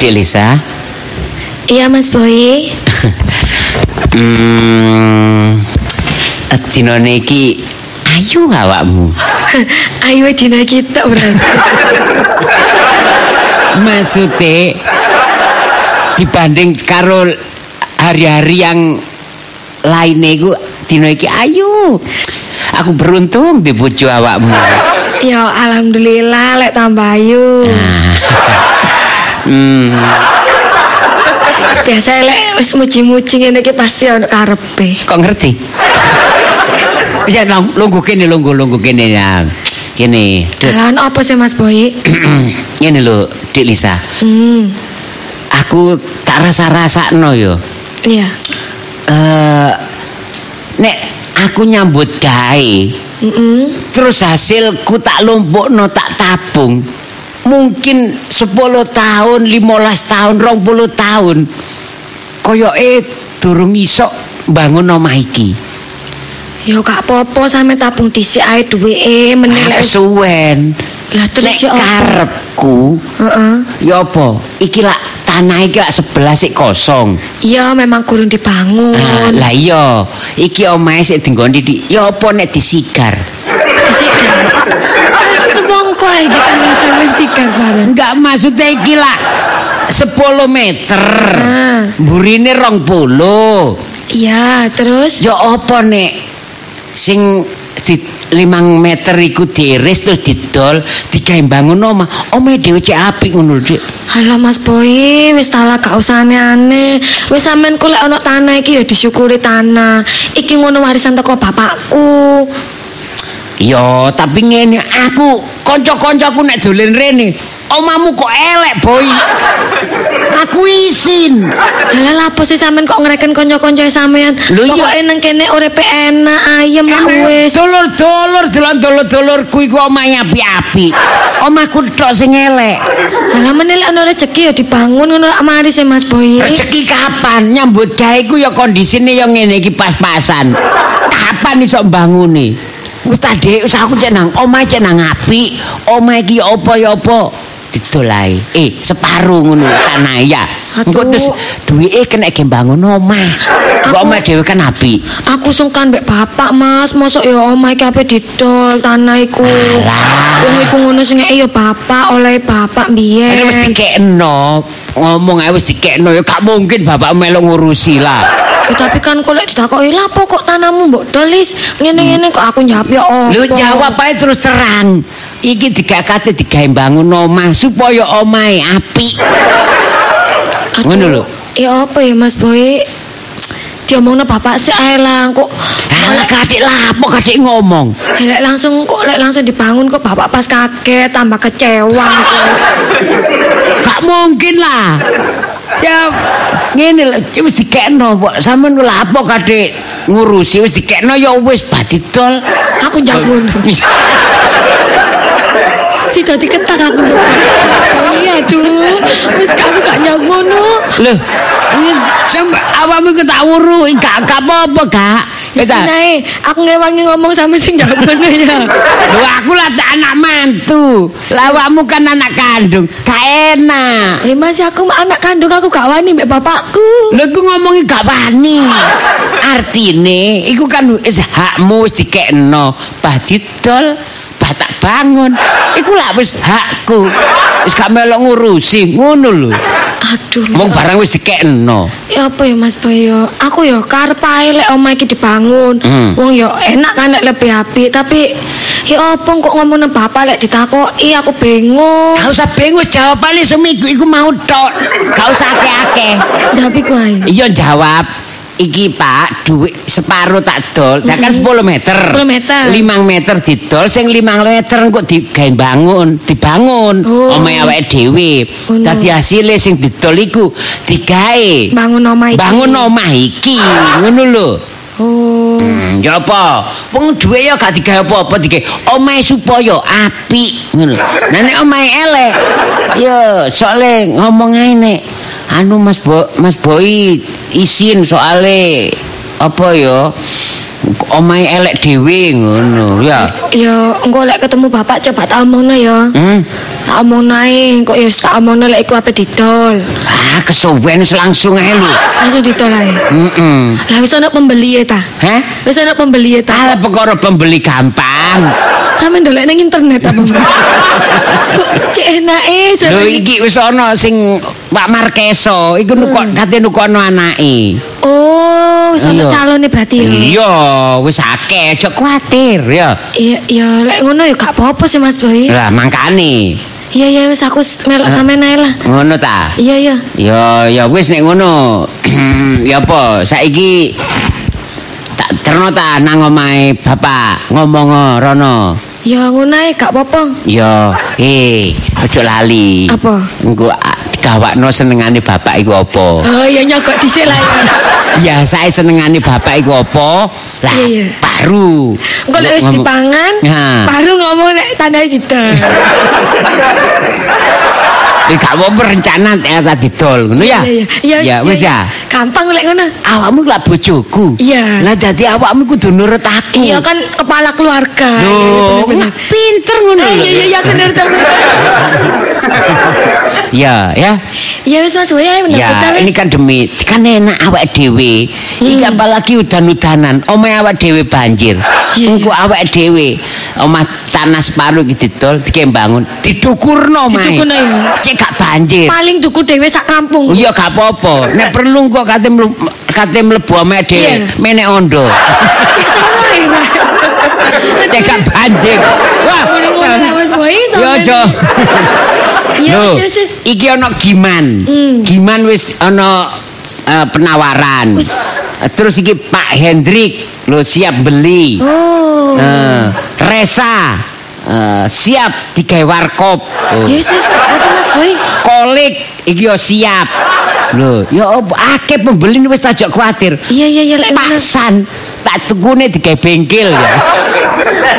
Cik Lisa. Iya Mas Boy. Hmm. Dinone iki ayu awakmu. Ayo dina kita berarti. Maksude dibanding karo hari-hari yang lainnya iku dina iki ayu. Aku beruntung di bojo awakmu. Ya alhamdulillah lek tambah ayu. Hmm. Biasa lek wis muji-muji ngene iki pasti ono karepe. Kok ngerti? ya nang lungguh kene lungguh lungguh kene ya. Kene, Dut. Lah ono apa sih Mas Boy? ngene lho, Dik Lisa. Hmm. Aku tak rasa-rasakno yo. Iya. Eh nek aku nyambut gawe, Mm-mm. terus hasilku tak lompokno, tak tabung. Mungkin 10 tahun, 15 tahun, 20 tahun. Koyoke durung iso bangun omah iki. Ya gak apa-apa sampe tabung dhisik ae duweke meneh Ah, lek wis- Kesuwen. Lah terus Nek ya apa? karepku Heeh. ya apa? Iki lak tanah iki lak sebelah sik kosong. Iya memang kurang Ah, dibangun. lah iya, iki omahe sik dinggondi di ya apa nek disigar. Disikan. Jangan semongko ae gitu sampean sikan bareng. Enggak maksudnya iki lak 10 meter. Ah. Burine 20. Iya, terus Ya apa nek sing di 5 meter iku diiris terus didol digawe bangun omah. Omahe dhewe cek apik ngono lho, Dik. Alah Mas Boy, wis talah gak usah aneh-aneh. Wis sampean ku lek ana tanah iki ya disyukuri tanah. Iki ngono warisan teko bapakku. Yo, tapi ngene aku kanca-kancaku nek dolen rene, omamu kok elek, boy. Aku isin. Lah lah apa sih sampean kok ngreken kanca-kanca sampean? Lho, iya. Pokoke nang kene uripe enak, ayem lah wis. Dulur-dulur delon dulur-dulurku iku omahe api-api. Omahku tok sing elek. Lah meneh lek ana rejeki ya dibangun ngono lak mari sih Mas Boy. Rezeki kapan nyambut gawe ku ya kondisine ya ngene iki pas-pasan. Kapan iso mbangune? Wis tadi wis aku cek nang omah cek nang apik. Omah iki ya apa ya apa didol ae. Eh, separuh ngono lho, tanah ya. Aduh. Engko terus duwike kena ge mbangun omah. Kok omah dhewe kan apik. Aku sungkan mbek bapak Mas, mosok ya omah iki ape didol tanah iku. Alah. Wong iku ngono sing ngeke ya bapak, oleh bapak Ini biyen. wis dikekno. Ngomong ae wis dikekno ya gak mungkin bapak melu ngurusi lah. Ya, tapi kan kok lek ditakoki lha apa kok tanamu mbok dolis ngene-ngene kok aku jawab ya opo. Lu jawab ae terus terang. Iki digakate digawe bangun omah supaya omahe apik. Aduh, ngono lho. Ya apa ya Mas Boy? Diomongno bapak sih ae lah kok Alah kadik lapo kadik ngomong. lek langsung kok lek langsung dibangun kok bapak pas kaget tambah kecewa. gitu. Gak mungkin lah. Ya ngene lho wis dikekno kok sampean lho lapo kadik ngurusi wis dikekno ya wis badidol. aku jawab ngono. Si dadi ketak aku. Iya aduh, wis kamu gak nyawab ngono. Loh, ini sampe awakmu iku tak wuru, gak gak apa-apa, Kak. Ya Kita- sinae, aku ngewangi ngomong sama sing jawab ngono ya. Lho aku lah tak anak mantu. Lawakmu kan anak kandung. Gak enak. Eh Mas, aku anak kandung aku gak wani mbek bapakku. Lho iku ngomongi gak wani. Artine iku kan wis hakmu wis dikekno. Bah didol, bah tak bangun. Iku lah wis hakku. Wis gak melok ngurusi ngono lho. Aduh. Wong barang wis dikekno. Ya apa ya Mas Boyo? Aku ya karep ae lek omah iki dibangun. Hmm. Wong ya enak kan lek lebih apik, tapi ya apa kok ngomong nang bapak lek ditakoki aku bingung. Gak usah bingung jawabane sumiku iku mau tok. Gak usah akeh-akeh. Tapi ku ae. Iya jawab. Iki Pak, duit separuh tak dol, ya kan 10 meter. 10 meter. 5 meter didol, sing 5 meter kok digawe bangun, dibangun. Oh. Omahe awake dhewe. Ngono. Dadi hasilnya sing didol iku digawe. Bangun omah iki. Bangun omah iki, ngono lho. Oh. Hmm, ya apa? Wong duwe ya gak digawe apa-apa digawe. Omahe supaya apik ngono. Nah nek omahe elek, ya soalé ngomong ae nek anu Mas Bo, Mas Boy isin soalé apa ya? omahe elek dhewe ngono ya. Ya, engko lek ketemu bapak coba tak omongno ya. Hmm. Tak omong nae, kok ya wis tak omongno lek iku ape didol. Ah, kesuwen langsung ae lho. Langsung didol ae. Heeh. Lah wis ana pembeli e ta. Heh? Wis ana pembeli e ta. Ala perkara pembeli gampang. Sampe ndolek ning internet apa. Kok cek e, enake Lho sampe iki wis ana sing Pak Markeso iku nuku kate nukono anake. Oh, wis ana Iya. calone berarti ya. Iya, wis akeh, aja kuwatir ya. Iya, ya lek ngono ya gak apa-apa sih Mas Boy. Lah mangkane. Iya, ya wis aku s- melok sampean ae lah. Ngono ta? Iya, iya. Ya ya wis nek ngono. ya apa? Saiki tak terno ta nang omahe bapak ngomong rono. Ya ngono ae gak apa-apa. Ya, eh, ojo lali. Apa? Engko a- gawakno senengane bapak iku apa? Oh, ya nyogok dhisik lah. ya. Ya saya senengane bapak iku apa? Lah, Iya, iya. baru. Engko lek wis Ngomong- dipangan, Nah. baru ngomong nek tandai didol. Eh, gak apa-apa rencana eh, tadi dol, ngono ya? Iya, Ya wis ya. Gampang lek ngono. Awakmu iku lah bojoku. Iya. Lah dadi awakmu kudu nurut aku. Iya kan kepala keluarga. Loh, Iya, nggak pinter ngono bener-bener. Eh, lho. Iya, iya, iya, bener to. Ya, ya. Ya wis Mas Boy, ayo bener kita Ya, wis. Hmm. ini kan demi kan enak awak dhewe. Iki apalagi udan-udanan, omah awak dhewe banjir. Iya, Engko awak dhewe omah tanah separuh iki didol dikembangun, didukurno omahe. Didukurno, ya. Cek gak banjir. Paling duku dhewe sak Oh, kampung. Iya gak apa-apa. Nek perlu kok kate mlu- kate mlebu omahe dhewe, Iya. menek ondo. Cek soro ya. Cek gak banjir. Wah. Ngono-ngono lah, Mas Boy, Ya sampean. aja. Iya, Loh, wis, wis, wis. iki ana giman. Hmm. Giman wis ana eh, penawaran. Wis. Eh, Terus iki Pak Hendrik lo siap beli. Oh. Eh, Resa eh, siap digawe warkop. Oh. Ya wis wis gak apa-apa Mas Boy. Kolik iki yo siap. Lho, ya apa? akeh pembeli wis aja kuatir. Iya, iya, iya lek ngono. Pak San, tak tukune digawe bengkel ya.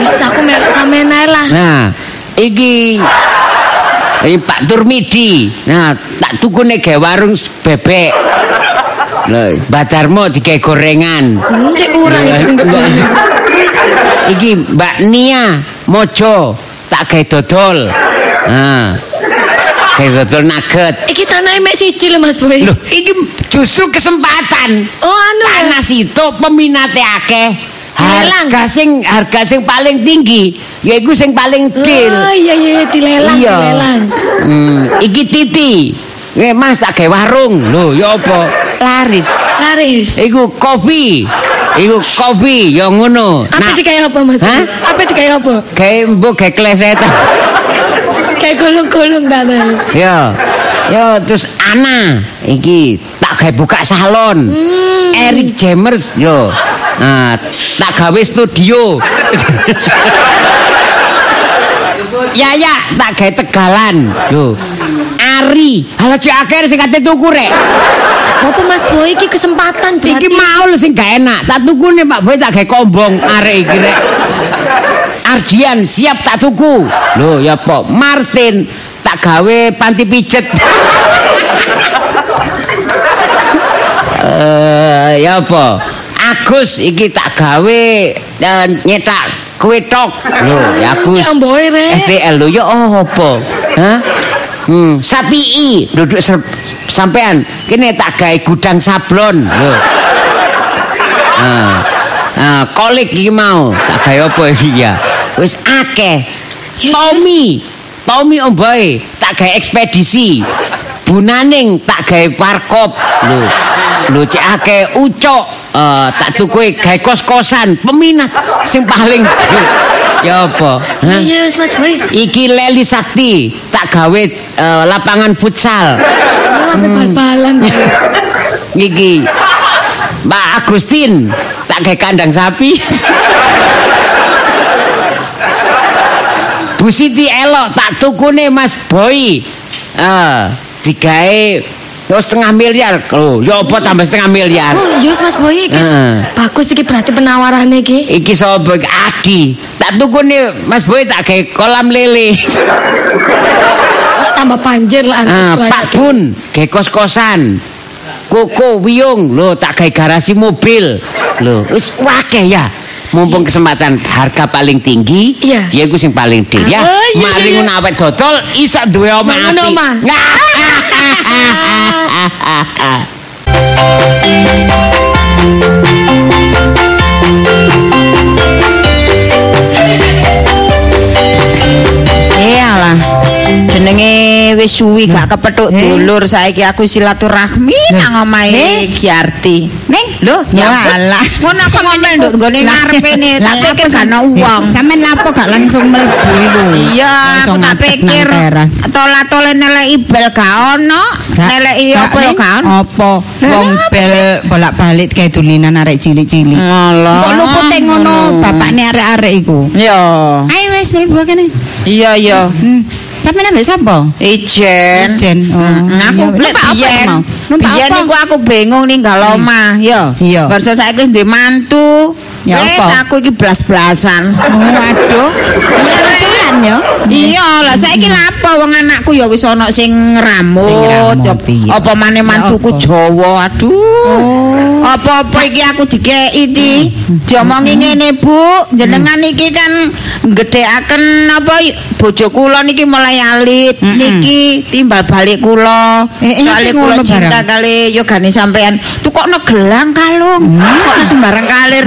Wis aku melok sampean ae lah. Nah, iki iki Pak Turmidi. Nah, tak tukune gawe warung bebek. Lho, Mbak Darmo digawe gorengan. Hmm, Cek kurang Iya, itu. iya. Iki Mbak Nia Mojo tak gawe dodol. Nah. Gawe dodol nugget. Iki tanahe mek siji lho Mas Boy. Loh, iki justru kesempatan. Oh anu ya. Tanah situ peminate akeh. Dilelang. Harga sing harga sing paling tinggi yaiku sing paling deal. Oh iya iya iya, dilelang Iya. dilelang. Hmm, iki titi. Eh Mas tak gawe warung. Lho, ya apa? Laris. Laris. Iku kopi. Iku kopi ya ngono. Apa Nah, dikaya apa Mas? Hah? Apa dikaya apa? gawe mbok gawe klesetan. Kayak gulung-gulung tadi. Ya. Ya terus Ana iki tak gawe buka salon. Eric Jammers yo. Nah, tak gawe studio. ya ya tak gawe tegalan yo. Ari, ala cek akhir sing kate tuku rek. Apa Mas Boy iki kesempatan berarti. Iki mau lho sing gak enak. Tak tukune Pak Boy tak gawe kombong arek iki rek. Ardian siap tak tuku. Lho ya apa? Martin tak gawe panti pijet. Eh ya apa? Agus iki tak gawe eh, nyetak kue tok. Lho ya Agus. Cek omboe rek. STL lho ya apa? Hah? Hmm, sapi i duduk ser- sampean kene tak gawe gudang sablon lho. Ah. Ah, kolik iki mau tak gawe apa iki ya. Wis akeh. Yes, Tommy, Tommy omboe tak gawe ekspedisi. Bunaning tak gawe parkop lho. Lho cek akeh ucok eh, tak tuku gawe kos-kosan peminat sing paling gede. Ya apa? Hah? Iya wis Mas Boy. Iki Leli Sakti tak gawe eh, lapangan futsal. Oh, apa Hmm. bal-balan. Nah. Iki Mbak Agustin tak gawe kandang sapi. Bu Siti elok tak tukune Mas Boy. Eh, digawe yo setengah miliar. Lho, yo apa tambah setengah miliar? Oh, iya wis Mas Boy iki Heeh. bagus iki berarti penawarane iki. Iki sapa iki? Adi. Tak tukune Mas Boy tak gawe kolam lele. Tambah panjir lah anu Ah, sekolah. Pak Bun, gawe kos-kosan. koko wiyung lho tak gawe garasi mobil lho wis akeh ya mumpung kesempatan harga paling tinggi Iya. yaiku sing paling dhewe ya Ah, iya, mari iya, iya. ngono awet dodol iso duwe Nah, omah Bangun omah. kan. ati Iyalah. Jenenge wis suwi gak kepethuk dulur saiki aku silaturahmi nang omahe Giarti. Ning lho nyalah. Ngono aku ngomel nduk nggone ngarepene tak pikir gak ana wong. Sampeyan lapo gak langsung mlebu iku? Iya, aku Langsung tak ngadeg nang pikir teras. tola-tole neleki bel gak ono, Gak. neleki apa ya Ning? gak ono. Apa? Wong bel bolak-balik kayak dulinan arek cilik-cilik. Alah. Kok lupute ngono bapakne arek-arek iku? Yo. Ayo wis mlebu kene. Iya, iya. Hmm. Sampeyan ambek sapa? Ijen. Hmm, Ijen. Oh. Nah, Aku Iya, numpak lek apa ya? biyen- mau? Numpak Biyen apa? niku aku bingung ninggal omah, yo. Iya. Barso saiki wis duwe mantu. Ya Wis apa? aku iki blas-blasan. Waduh. Oh, Iya, Kerjaan yo. Iya, lah saiki lapo wong anakku ya wis ana sing Sing ngramut. ngramut, iya. Apa maneh mantuku apa? Oh. Jawa, aduh. Apa-apa iki aku dikeki iki. Diomongi ngene, Bu. Jenengan iki kan gedheaken apa bojo kula niki mulai alit. Niki timbal balik kula. Eh, eh, Soale iki kula ngono cinta barang. kali yogane sampean. Tukokno gelang kalung. Kok sembarang kalir.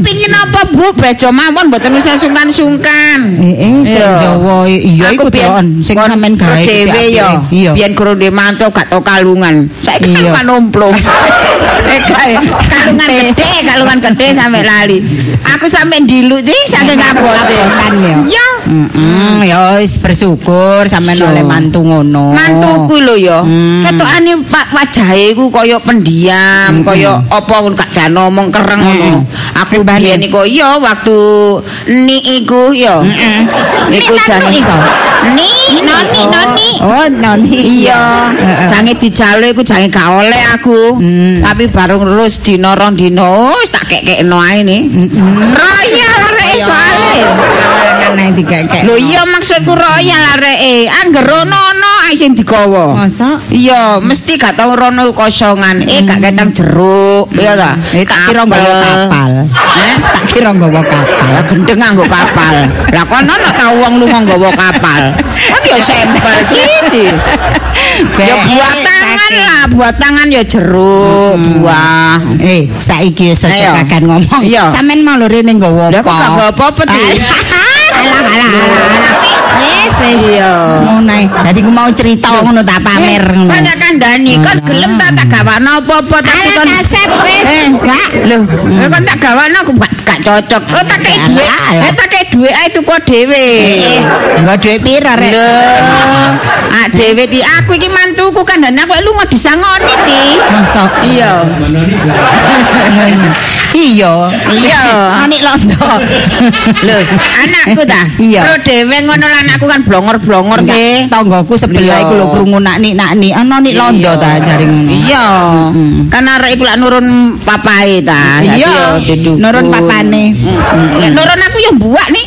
Kepingin apa, Bu? Bejo mawon mboten usah sungkan-sungkan. Eh, eh, Jen Iya. Jawa. Iya Aku iku biyen doon sing kon- sampean gawe kon iki dhewe apike. ya. Iya. Biyen kurang dhewe mantu gak tau kalungan. Saiki kan Iya. manomplong. Eh, kae, kalungan gede, kalungan gede sampe lali. Aku sampe ndiluk sih saking abote. Abotan ya. Ya. Heeh, ya wis bersyukur sampean So. oleh mantu ngono. Mantuku Oh. lho ya. Hmm. Ketokane Pak wajahe iku kaya pendiam, kaya apa ngono gak jan ngomong kereng ngono. Hmm. Aku biyen iku ya waktu ni iku ya. Iku Hmm. Ni jan tanu iku? Ni, noni, noni. Oh, noni. Iya, Heeh. jange dijalo iku jange gak oleh aku. Hmm. Tapi bareng terus dina rong dina oh, wis tak kekekno ae ne. Hmm. Royal areke soalé. Kalangan ae dikekek. Lho iya maksudku royal areke. Angger ono ono ae sing digawa. Masa? Iya, mesti gak tau rono kosongan. Eh gak ketang jeruk, iya ta? Hmm. Eh, tak kira nggawa kapal. Eh? Tak kira nggawa kapal. Lah gendeng nganggo kapal. Lah kono nek tau wong lunga nggawa kapal. Kan ya sampel iki. Ya buat tangan lah, buat tangan ya jeruk, buah. Eh, saiki wis Ayo. aja kakan ngomong. Iya. Sampean mau lho rene nggawa Lah kok gak apa? apa-apa ti. Alah, alah, alah, alah. Wis, wis. Iya. Ngono ae. Dadi ku mau cerita ngono tak pamer ngono. Ah. Banyak kandhani kon gelem tak tak gawakno apa-apa tapi Alah, kon kasep, wis. Eh, Gak. Loh, Hmm. eh, kon tak gawakno aku gak gak cocok. Oh tak kei Alah, dhuwit. alah. Eh tak kei dhuwit ae tuku dhewe. Eh, Nggo dhuwit pira rek? Lho, ah dhewe ti aku iki mantuku kandhane aku lunga disangoni ti. Masa? Iya. Ngono. Iya. Iya. Noni londo. Lho, anakku ta. Iya. Pro dhewe ngono lan aku kan blongor-blongor sih. Tanggoku sebelah Iya. iku lho krungu nak nik nak nik. Ana nik londo Iya. ta jare ngono. Iya. Kan arek iku lak nurun papahe ta. Dadi Iya. yo didukun. Nurun papane. Lek Nurun aku yo mbuak nih.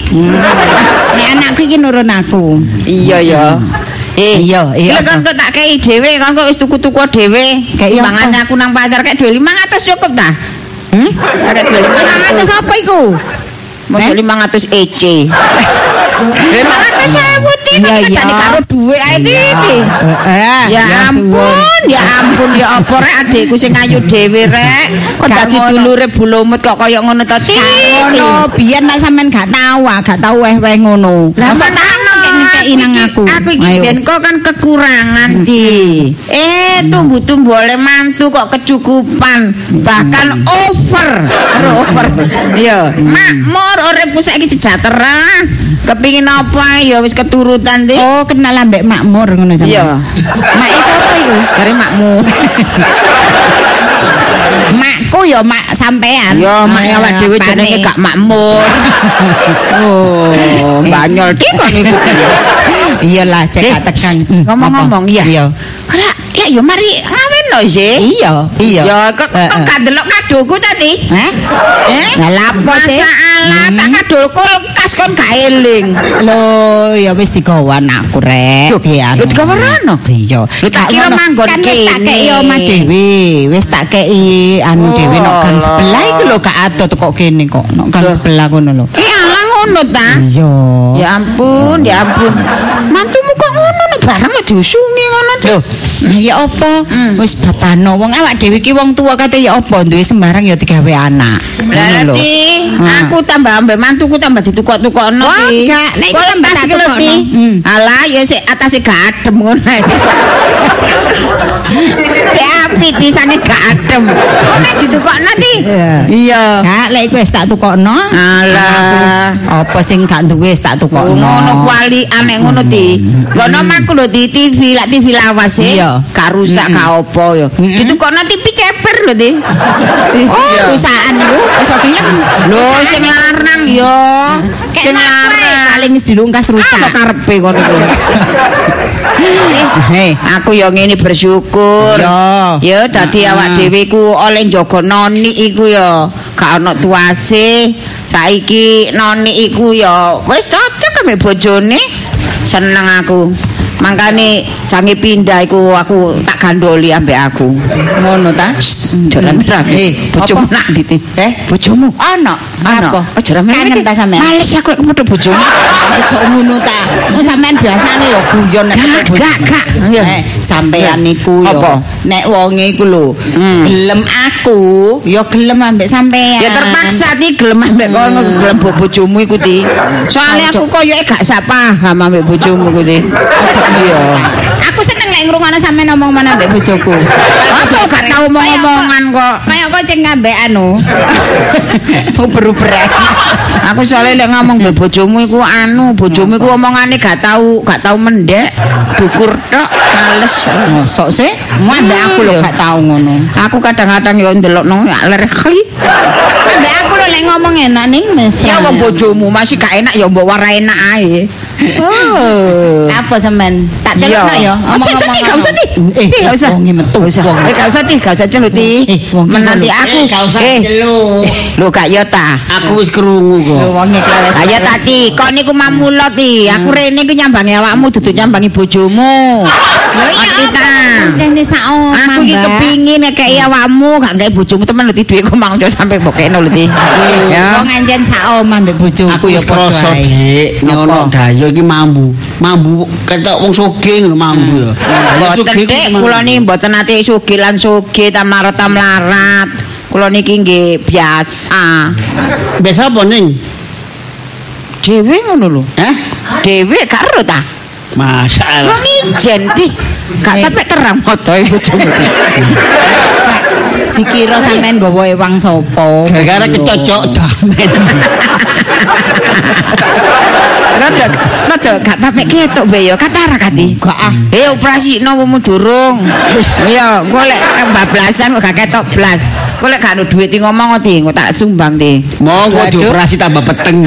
Nek anakku iki nurun aku. Iya ya. Eh, Iya, iya, Lek kon kok tak kei dhewe, kon kok wis tuku-tuku dhewe. Kei apa? Mangane aku nang pasar kek 2500 cukup ta? Hmm? Kek 2500 Atus apa iku? Mau 500 EC. 500 sewu ti Iya, tak iya. kedani karo dhuwit ae ti. ti. Heeh. Ya ampun, ya ampun ya apa rek adekku sing ayu dhewe rek. Kok Gak dadi ngono. dulure bulumut kok kaya ngono to ti. Ngono, biyen nek sampean gak tau ah, gak tau weh-weh ngono. Lah Masa tano kek ngekeki nang aku. Aku iki Ayo. Hmm. ben kok kan kekurangan ti. Eh tumbuh-tumbuh oleh mantu kok kecukupan, Hmm. bahkan over. Ora over. Iya. Hmm. Makmur uripku saiki sejahtera. Kepingin apa ya wis keturutan ti. Oh, kenal ambek makmur ngono Iya. sampean. Mak sapa iku? Kare makmu. Makku ya mak sampean. Oh, iya, Yo Iya, mak ya, Ah, awak dhewe Bapane. jenenge gak makmur. Eh. Oh, banyol ti kon iku. Iyalah cek gak tekan. Hmm, Eh. Ngomong-ngomong apa? ya. Iya. Ora, ya yo mari ngawe no sih. Iya, iya. Ya kok kok Heeh. gak delok kadoku tadi. Heh? Eh? Lah lha apa sih? Hmm. Masalah tak kado kulkas kon gak eling. Lho, ya wis digawan aku rek. Lho, lho, digawa rano? Iya. Lho, tak kira ngono. manggon kan wis tak kene. Oh, kei omah dhewe. Wis tak kei anu dhewe nok gang alah. sebelah iku lho gak atuh kok kene kok. Nok gang sebelah kono lho. Eh ala ngono ta. Iya. Ya ampun, ya ampun. Mantumu kok ngono nek barang diusungi ngono Lho, nah ya apa? Hmm. Wis babano wong awak dhewe ki wong tua kate ya apa duwe sembarang ya digawe anak. Lah Ngono lho. Lati, Ah. aku tambah ambek mantuku tambah ditukok-tukokno Oh, Ti. enggak. Nek iku Kok tambah tas tak iki lho, tukokno. Ti. Hmm. Alah ya sik atase gak adem ngono ae. Sik api tisane gak adem. Kok nek ditukokno Ti? Iya. Kak, lek iku wis tak tukokno. Alah. Apa sing gak duwe wis tak tukokno. Oh, ngono kuali aneh ngono ti ngono maku lho di TV lak TV lawas e Iya. gak rusak gak apa ya gitu kok nanti TV ceper lho ti Oh, perusahaan iku iso gelem. lho sing larang yo sing larang Paling wis apa dilungkas rusak. karepe kono kuwi Hei. aku yo ngene bersyukur Yo. yo dadi awak dhewe ku oleh njogo noni iku yo gak ono tuase saiki noni iku yo wis cocok ambek bojone seneng aku mangkane jange pindah iku aku tak gandoli ambek aku Ngono ta? jalan Eh, rame bojomu apa? nak dite Eh, bojomu Ono. Ono. Apa? Ojo rame-rame Kangen iki. ta sampean? males aku lek metu bojomu Ojo ngono ta. Wong Sampean biasane ya guyon nek Gak, ketemu. gak, gak. Iya. Eh, sampean niku Apa? Hmm. ya nek wonge iku lho gelem aku ya gelem ambek sampean. Ya terpaksa ti gelem ambek kono Hmm. gelem mbok bojomu iku ti. Soale aku koyoke gak sak paham ambek bojomu iku ti. Iya. Aku seneng lek ngrungokno sampean ngomong mana ambek bojoku. Apa gak tau mau ngomongan kok. Kayak kok ceng ambek anu. Uber-uberan. Aku soalnya lek ngomong mbek bojomu iku anu, bojomu iku omongane gak tau gak tau mendek, dukur tok, males. Mosok sih, mau ambek aku lho gak tau ngono. Aku kadang-kadang yo ndelokno ya lerhi. Ambek aku lho lek ngomong enak ning mesra. Ya wong bojomu masih gak enak ya mbok wara enak ae. Oh. Apa sampean? Tak celokno ya. Iya. Ojo ti gak usah ti. Eh, Ti gak usah. wonge metu. Wong. Eh gak usah ti, gak usah celuti. Eh, wong iki Menanti lho. aku. Eh, gak usah Eh, celuk. Lho gak yo ta. Aku wis krungu kok. Lho, Wonge celewes. Ayo tati, kok niku mamulot ti. Aku rene ku nyambangi awakmu dudu nyambangi bojomu. Lho iya ta. Cene sak omah. Aku iki kepingin ngekeki awakmu, gak ngekeki bojomu temen lho ti dhuwitku mang jo sampe bokekno lho ti. Wong Ya. anjen sak omah mbek bojoku Aku ya ya krasa ae. dik, nek ono dayo iki mambu. Mambu ketok wong sugih ngono mambu ya. Dayo Mboten sugih dik, kula niki mboten nate sugih lan sugih tamarat tamlarat. Kula niki nggih biasa. Mbes apa ning? Dewi ngono lho. Hah? Dewi karo ta? Wong Masalah. ijen ti. Gak tepek terang mata ibu Dikira sampean nggawa ewang sapa. Gara-gara kecocok damen. Rada rada gak tepek ketok be yo katara kati. Enggak ah. Eh operasi nopo durung. Iya, engko lek kebablasan kok gak ketok blas. Engko lek gak ono duit ti ngomong ti, engko tak sumbang ti. Monggo Waduh. dioperasi tambah peteng.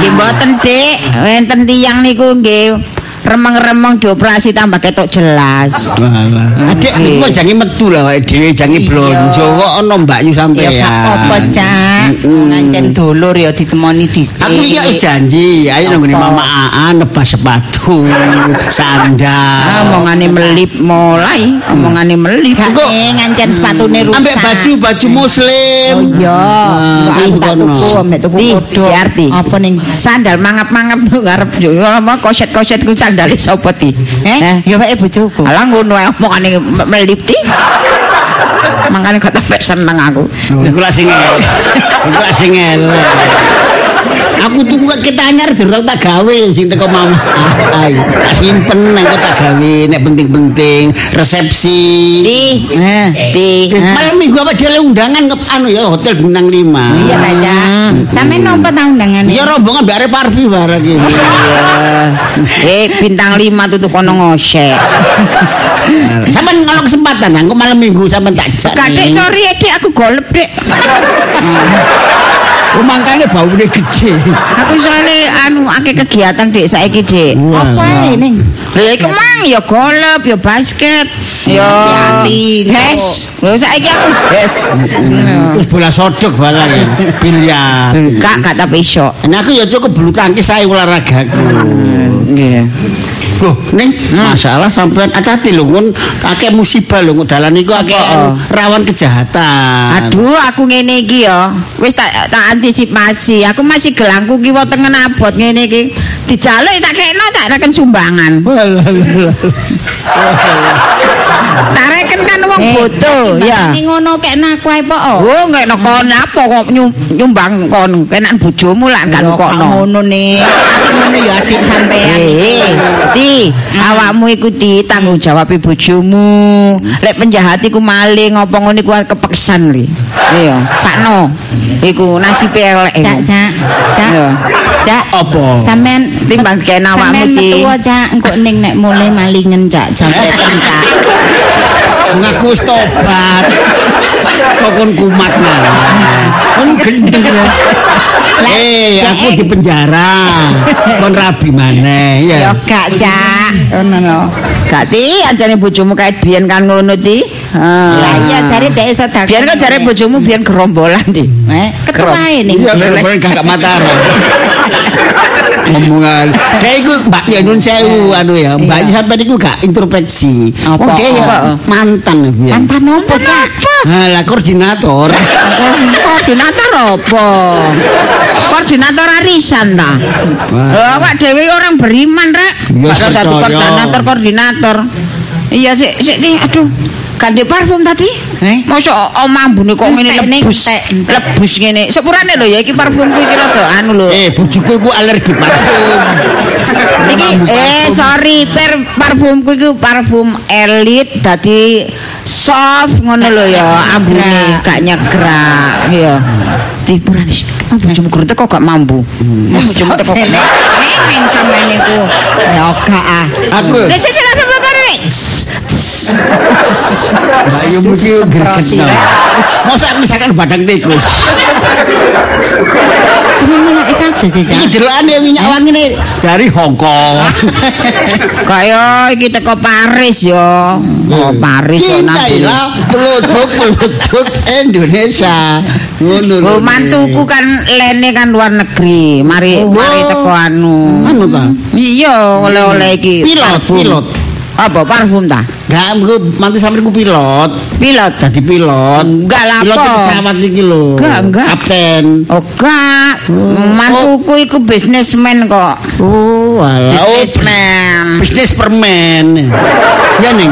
Nggih mboten, Dik. Enten tiyang niku nggih remeng-remeng dioperasi tambah ketok jelas. Walah. Adik Nggih. niku jange metu lah awake dhewe jange blonjo kok ono mbakyu Ya sampean. Iya, gak apa, Hmm. Cak. Mm-mm. Wong anjen dulur ya ditemoni dhisik. Aku iki wis janji, ayo nang nggone Mama Aan nebas sepatu, Ah, sandal. omongane melip mulai, Mm. omongane melip. Gak Engko- eh, ngancen sepatune rusak. Ambek baju baju muslim. Oh iya, Ah, aku tak bukan. tuku ambek tuku Di, kodho. diarti. Apa ning? Sandal mangap-mangap nduk arep yo apa koset-koset ku sandale sapa ti? Eh, ya wae bojoku. Alah ngono ae omongane me- melip ti. Mangkane gak tepek seneng aku. Lho, Iku lak sing elek. Iku lak sing elek. Aku tuku kok kita anyar durung tak gawe sing teko mama. Ayo, tak simpen nang kok tak gawe nek penting-penting resepsi. Di, Eh. di. Malam minggu apa dia oleh undangan ke anu ya hotel Bintang 5. Iya ta, Cak. Sampeyan nompo ta undangane? Ya rombongan bare Parvi bareng iki. Eh, bintang 5 tuh tuh kono ngosek. Sampeyan ngono kesempatan aku Hmm. eh, malam minggu sampeyan tak jak. Kadek nih. sorry ya, Dek, aku golep, Dek. Mangkane baune gede. Aku soalnya anu akeh kegiatan Dik saiki Dik. Wah, Apa wah. ini? Lha iku mang ya golf, ya basket, ya Hati-hati, Nduk. Hes. Lho saiki aku hes. Terus bola sodok barang ya. Biliar. Gak gak tapi iso. Nah aku ya cukup bulu tangkis saya olahragaku. Iya. Loh, ning masalah sampean hati-hati lho ngun akeh musibah lho ngun dalan iku akeh Oh. rawan kejahatan. Aduh, aku ngene iki ya. Wis tak tak antisipasi. Aku masih gelangku ki wetenge abot ngene iki. Dijaluk tak kekno tak reken sumbangan. Tak reken kan wong Eh, butuh ya. Ini ngono kek nak wae po. Oh, ngekno kon apa kok nyum- nyumbang kon kenan bojomu lah kan Lho, kok ngono nih. Sing Eh, ngono ya adik sampean. Hmm. Eh, di awakmu iku di tanggung jawab bojomu. Lek penjahat iku maling apa ngono iku kepeksan li. Iya, sakno. Iku nasibe elek. iku. Cak, cak, cak. Iya. Cak. Apa? Sampean Timbang kene awakmu di. Sampeyan Eh. metu wae, cak engko ning nek mulai malingen cak jamreten cak. Ngaku wis tobat. Kok kon kumat malah. Kon gendeng ya. Eh, ya, eh. aku di penjara. Kon rabi maneh Ya ya. gak, Cak. Ngono no. Gak ti ajane bojomu kae biyen kan ngono ti. Lah Heeh. iya jare dek sedekah. Biyen kok jare bojomu biyen gerombolan di. Eh, ketuae ning. Iya, bener-bener kakak Mataram. Omongan. Dia iku Mbak ya nun sewu anu ya. Mbak ya sampe niku gak introspeksi. Iya. Apa? Wong dia ya Apa? mantan ya. Mantan opo cak? Alah koordinator. Koordinator apa? Koordinator arisan ta? Wah. Lho awak dhewe orang beriman, Rek. Iya, Masa satu percaya. koordinator koordinator. Iya sik sik nih aduh. Ganti parfum tadi? Eh? Masa omah mbune kok ngene Entek, nih, lebus. entek, entek. Lebus ngene. Sepurane lho ya iki parfumku iki rada anu Iya, lho. eh, bojoku iku alergi parfum. Niki eh sorry per parfumku iku parfum elit dadi soft ngono lho ya ambune gak nyegrak ya. Tipuran sih. Ah bojomu guru teko kok gak mampu. Bojomu teko kok. Neng sampean niku. Ya gak ah. Aku Sik sik sik langsung pelotone nih. Mbak Yu mesti greget. Masa aku misalkan badang tikus. Semono nek wis adus ya Iki cak. delokane minyak wangine dari Hong Kong. Ah, Kaya iki teko Paris ya. Hmm. Oh Paris kok nambah. Cintailah produk-produk Indonesia. Ngono. lho. Oh mantuku kan lene kan luar negeri. Mari Oh. mari teko anu. Anu ta? Iya oleh-oleh iki. Pilot, parfum. pilot. Apa parfum ta? Gak, aku mantu sampe ku pilot. Pilot. Dadi pilot. Enggak lah, Pilot apa? pesawat iki lho. Enggak, enggak. Kapten. Oh gak, mantuku iku bisnismen kok. Oh, alah. Oh, Bisnismen. bisnis permen. Ya ning.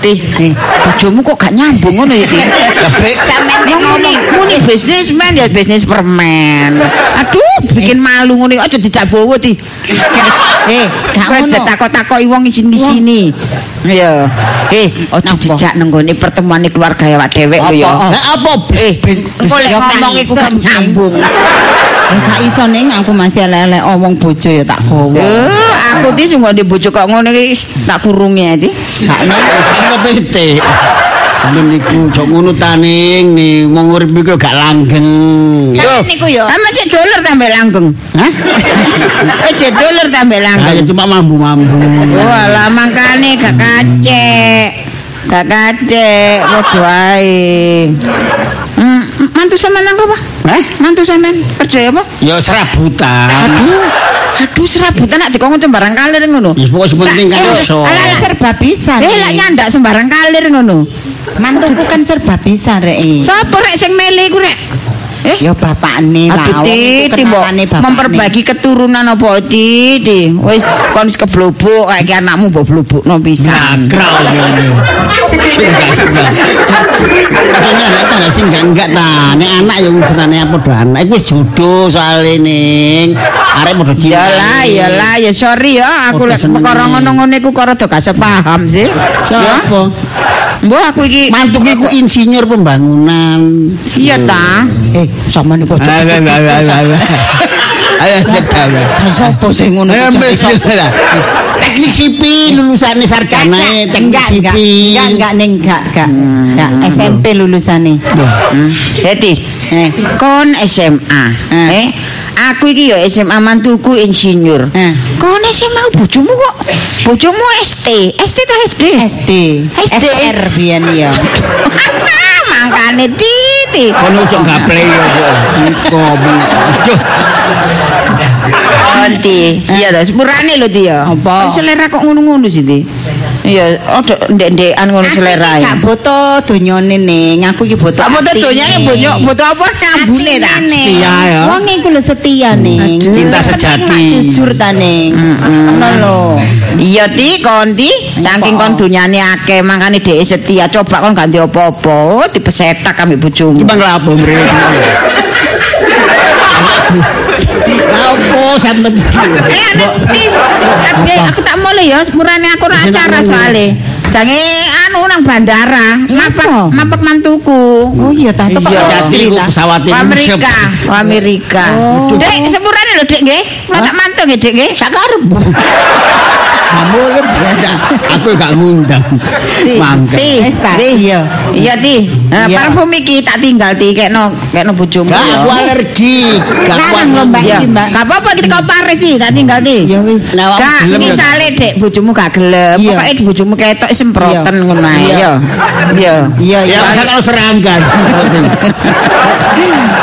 Tih, tih. Eh, Bojomu kok gak nyambung ngono ya, Tih. Lebih. Sampeyan nek ngomong muni bisnismen ya bisnis permen. Aduh, bikin malu ngono. Aja dijak bowo, Tih. Eh, gak Kowe ngono. takok-takoki wong isin-isini. Iya. Eh, aja dijak nang gone pertemuan keluarga awak dhewe lho ya. Lah apa? Eh, engko lek ya ngomong Eh, gak iku gak iso, Ning. nyambung. Ya gak iso ning aku masih elek-elek omong bojo ya tak gowo. Eh, aku ti sungguh di bojo kok ngono iki tak kurungi ya, ti. Gak ning. Sampe pitik. Ngono niku jok ngono taning nih wong urip iku gak langgeng. Sampe niku yo. Sampe cek dolar tambah langgeng. Hah? Eh, cek dolar tambah Ayo langgeng. cuma mambu-mambu. Walah mangkane gak kacek. Gak kacek padha ae. Hmm, mantu sampean nang apa? Hah? Mantu sampean kerja apa? Ya serabutan. Aduh, aduh serabutan nak dikongkon sembarang kalir ngono. Ya pokoknya sepenting kan iso. Alah, alah, Serba bisa. Eh, lak nyandak sembarang kalir ngono. Mantuku kan serba bisa rek. Sapa rek sing mele iku rek? Eh, Ya bapakne lah. Aduh Ti, Ti, Mbok, memperbagi keturunan apa Ti, Ti? Wis kon wis keblobok kayak iki anakmu mbok blobokno pisan. Nagrau ngene. Sing gak enggak. Katanya gak ada sing gak enggak ta. Nek anak ya urusanane apa do anak. Iku wis jodoh soalé ning. Arek padha cinta. Yalah, yalah, ya sorry ya aku lek Udah seneng. perkara ngono-ngono iku kok rada gak sepaham sih. Ya. Siapa? Mbok aku iki Mantuku iku insinyur pembangunan. Iya ta. Eh, sama nih Ah. bojo. Alah alah alah alah. Ayo tetap. Kan Ah, sapa sing ngono? Eh, Cak? mbak, lah. Teknik sipil lulusannya sarjana teknik Enggak, enggak, enggak, sipil. Hmm. enggak, neng, enggak, enggak, enggak, SMP lulusan nih. Loh, Dadi, Eh, kon SMA. Eh, aku iki ya SMA mantuku insinyur. Eh. Kon SMA bojomu kok bojomu ST. ST ta SD? SD SD. SR biyen ya Mangkane titi. Kono cok gak play yo. Engko. Duh. Konti. Iya to, sepurane lho Ti ya. Eh. Apa? Selera kok ngono-ngono sih Ti. Iya, odo ndek-ndekan ngono selera. ya. gak boto donyone ning aku iki boto Tak butuh atine. donyane bonyok, butuh apa nyambune ta? Atine, Neng. Setia, ya. wong iku lho setia Hmm. ning Cinta sejati. jujur ta ning ngono lho hmm. Iya ti konti saking kon dunyane akeh makane dhek setia coba kon ganti apa-apa dipesetak ambek bojomu. Bang lapo mrene. Lapo sampean. Eh anu ti sikat ge aku tak mule ya sepurane aku ora acara soalé. Jange anu nang bandara, mapak mapak mantuku. oh iya ta kok Iya, dadi ku Ke pesawate rusak. Amerika, ke Amerika. Oh. Dek sepurane lho Dek nggih. Kula tak mantu nggih Dek nggih. Sakarepmu. Kamu kan biasa. Aku gak ngundang. Mangkel. Ti, Wis ta? Ti. Eh, Iya. Iya Ti. Nah, Iya. parfum iki tak tinggal Ti kekno kekno bojomu. Gak ya. aku alergi. Gak aku Larang lomba alergi. Iya. Iki, Mbak. Hmm. Gak apa-apa kita kau paris sih, tak tinggal ti. Ya wis. Nah, awakmu Gak, gelem ya, misalnya dek bojomu gak gelem, Iya. pokoknya bojomu ketok semproten ngono ae. Iya. Iya. Iya. iya Ya iya masa kalau serangga seperti ini.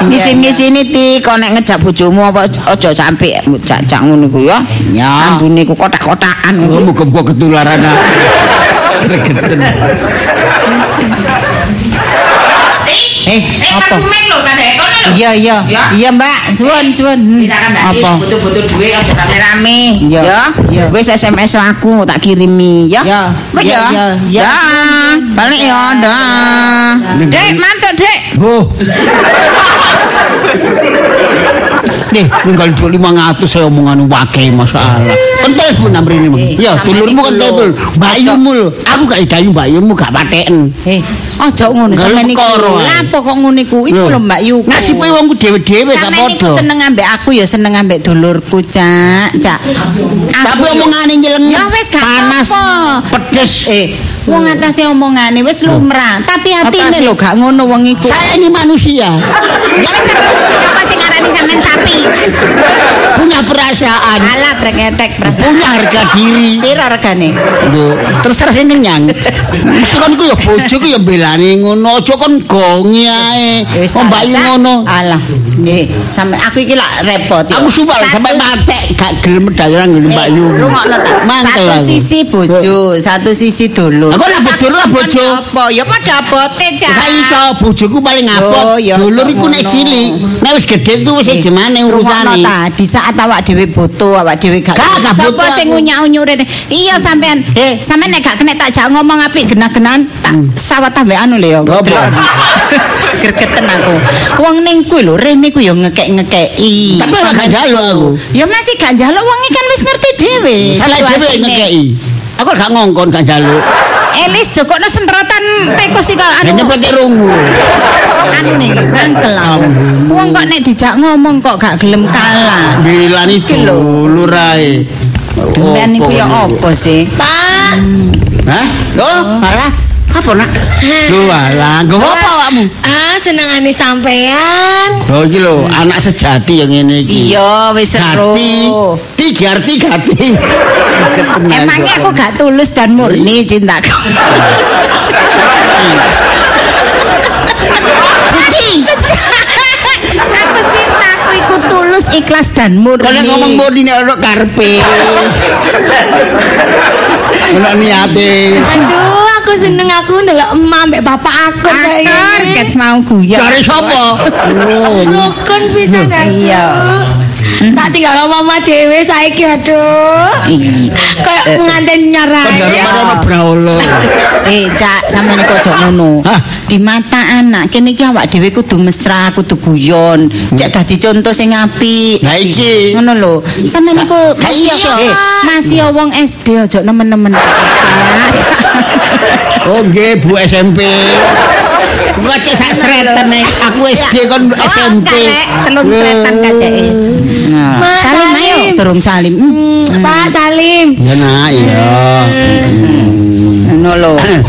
Di sini-sini ti kau nek ngejak bojomu apa ojo sampe jak jak ngono ku ya. Ya. Ambune ku kotak-kotakan Oh, ngono. muga-muga ketularan. ah. Gregeten. eh apa lho kadek kono iya iya iya mbak suwun suwun Hmm. apa Eh, Eh, butuh-butuh duit aja rame-rame Iya. ya Iya. wis SMS aku tak kirimi ya Iya. Apa Iya, ya iya, iya. ya balik ya dah dek mantap dek Oh. Nih, tinggal 2500 saya omongan wakai masalah. Kentel pun nambri ini, Mang. Ya, Sampai dulurmu iki kentel lho. pun. Mbak Yumu lho. Aku gak idayu Mbak Yumu gak pateken. eh ojo ngono Gawe sampean niku perkara, ae. lapo kok ngono iku iku lho mbak Yuku Nasibe wongku dhewe-dhewe gak Sampeyan iku padha. seneng ambek aku ya seneng ambek dulurku, Cak. Cak. Tapi Aku yo- omongane nyelengen. Ya wis gak panas, apa-apa. pedes. Eh, wong atase omongane wis lumrah, tapi atine lho gak ngono wong iku. Saya ini manusia, Ya wis terus, coba sing ngarani sampean sapi. punya perasaan, Alah breketek perasaan. punya harga diri. Piro regane? Lho, terserah sing kenyang. Mesti kon ku ya bojo ku ya belani ngono, aja kon gongi ae. Ya wis, Ah, Oh, Mbak Yu Cak. ngono. Alah. Nggih, sampe aku iki lak repot ya. Aku sumpah lho, sampai matek gak gelem dalan ngene Mbak Eh, Yu. Rungokno ta. Mantel Satu aku. sisi bojo, satu sisi dulur. Aku lah bodoh lah, bojo. Apa? Ya padha abote, Cak. Gak iso bojoku paling ngapot. Yo, yo, Dulur Cak, iku nek ngono. cilik, nek wis gedhe tuh wis jemane Rungokno urusane. ta, di saat awak dhewe butuh, awak dhewe gak. Gak, gak butuh Sapa sing aku. Hmm. ngunyah-unyure? Iya sampean. Eh, sampean nek gak kena tak jak ngomong apik genah-genan, tak sawat ambek anu lho ya. Hmm. Apa? Delok. Gregeten aku. Wong ning kuwi lho, rene kuwi ya ngekek-ngekeki. Tapi ora gak njaluk aku. Ya masih gak njaluk wong iki kan wis ngerti dhewe. Salah dhewe situasine. ngekeki. Aku gak ngongkon gak njaluk. Elis jokokno semprotan tikus iki kok Nek anu. nyepet rungu. Anu nih, mangkel aku. Wong kok nek dijak ngomong kok gak gelem kalah. Belani dulur ae. Sampean niku ya oh. Apa apa sih? Pak, Hah? Oh, alah. Apa nak? Lho alah, nggo Iya. apa awakmu? ah senengane sampean. Lho iki lho, anak sejati yang ngene Hmm. iki. Iya, wis seru. Gati, tiga arti gati. Emangnya aku gak tulus dan murni cintaku. aku cintaku iku tulus, ikhlas dan murni. Kalau ngomong murni nek ono karepe. Ono niate. Aduh, aku seneng aku ndelok emak mbek bapak aku akar ket mau guyon. Cari sapa? Rukun pisan aku. Hmm, Iya. Tak tinggal sama mama dhewe saiki aduh. Kayak pengantin nyarai. Kandhane ono braolo. Eh, Cak, sampeyan iku aja ngono. Hah? Di mata anak kene iki awak dhewe kudu mesra, kudu guyon. Cek dadi contoh sing apik. Hmm. Lah iki. ngono lho sampean niku Gak iso. Eh, masih wong SD aja nemen-nemen Oh nggih, Bu SMP. Gua cek sak sreten nek aku SD kon SMP. telung seretan kajeke Mas eh. salim ayo Salim. durung salim Hmm, Hmm, Pak Salim. Ya nak ya. ngono lho Hmm.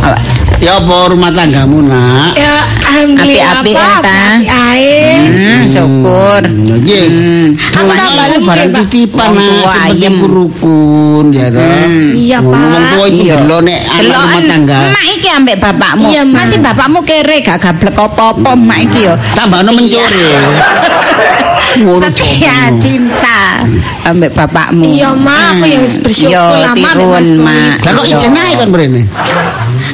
Ya apa rumah tanggamu nak? Ya alhamdulillah Apik-apik ya, Pak. Ta. Apik ae. Hmm, syukur. Hmm, Nggih. Aku tak Donya balik, barang Pak. titipan Wong Mas, tua, seperti iya. kurukun ya toh. Iya, Ngono Pak. Wong tua iku delok nek eh, anak Deloken, rumah tangga. Mak iki ambek bapakmu. Iya, Mak. Masih bapakmu kere gak gablek apa-apa mak iki yo. Iya. Tambahno mencuri. Ngono Setia jadimu. cinta ambek bapakmu. Hmm. Iya, Mak, aku ya wis bersyukur lah, Mak, ambek tirun, Mas Boy. Mak. Lah kok ijen naik kan mrene?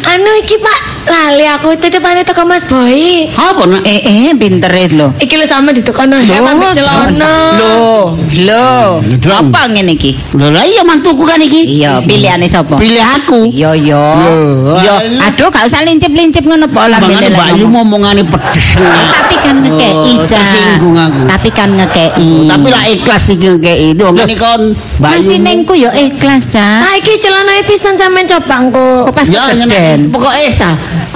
Anu iki Pak, lali aku titipane teko Mas Boy. Apa nak? Eh eh pintere lho. Iki lho sama ditekono hem ambek celana. Lho, lho. Delong. Apa ngene iki? Lho lah iya mantuku kan iki. Iya, pilihane sapa? Pilih aku. Yo yo. Loh, Yo, alah. aduh gak usah lincip-lincip ngono po lah Mangane milih-milih Bayu ngomong. omongane pedes. Tapi kan ngekei Oh, Cak. tersinggung aku. Oh, Tapi kan ngekei. Tapi lah ikhlas iki ngekeki. Wong ngene kon Masih nengku yo ikhlas, Cak. Ah iki celana pisan sampean coba engko. Kok pas Ya kegeden. ngene pokoke wis ta.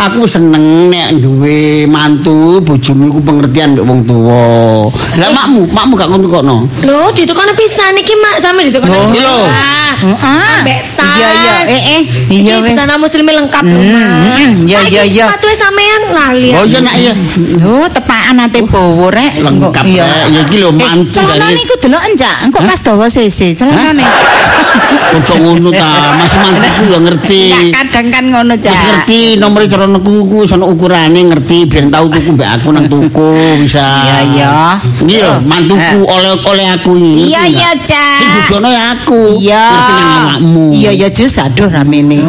Aku seneng nek duwe mantu bojomu iku pengertian mbek wong tuwa. Lah Eh. makmu, makmu gak ngono kokno. Lho, ditekono pisan iki Mak, sampe ditekono. Lho. celana. Heeh. Ambek tas. Iya, iya. Eh, eh. Iya, Iki wis. busana muslime lengkap lho, Mak. Hmm, ya Pak, ya iki ya. Sepatuke sampean lali. Iya, Oh iya nak iya. Lho, tepakan ate bowo rek. Lengkap, Iya. Rek. Ya iki lho, Eh, mantu Celanane jane. iku delok enjak, engko pas dawa sese celanane. Ojo ngono ta, masih mantuku ya ngerti. Ya kadang kan ngono, Wis Cak. ngerti nomor celanaku ku sono ukurane ngerti biar tau tuku mbek aku nang tuku bisa. Iya, iya. Iki lho, mantuku oleh-oleh aku iki. Iya, iya, Cak. Sing dudono ya aku. Iya. Ngerti nang awakmu. Iya ya jus aduh ramene.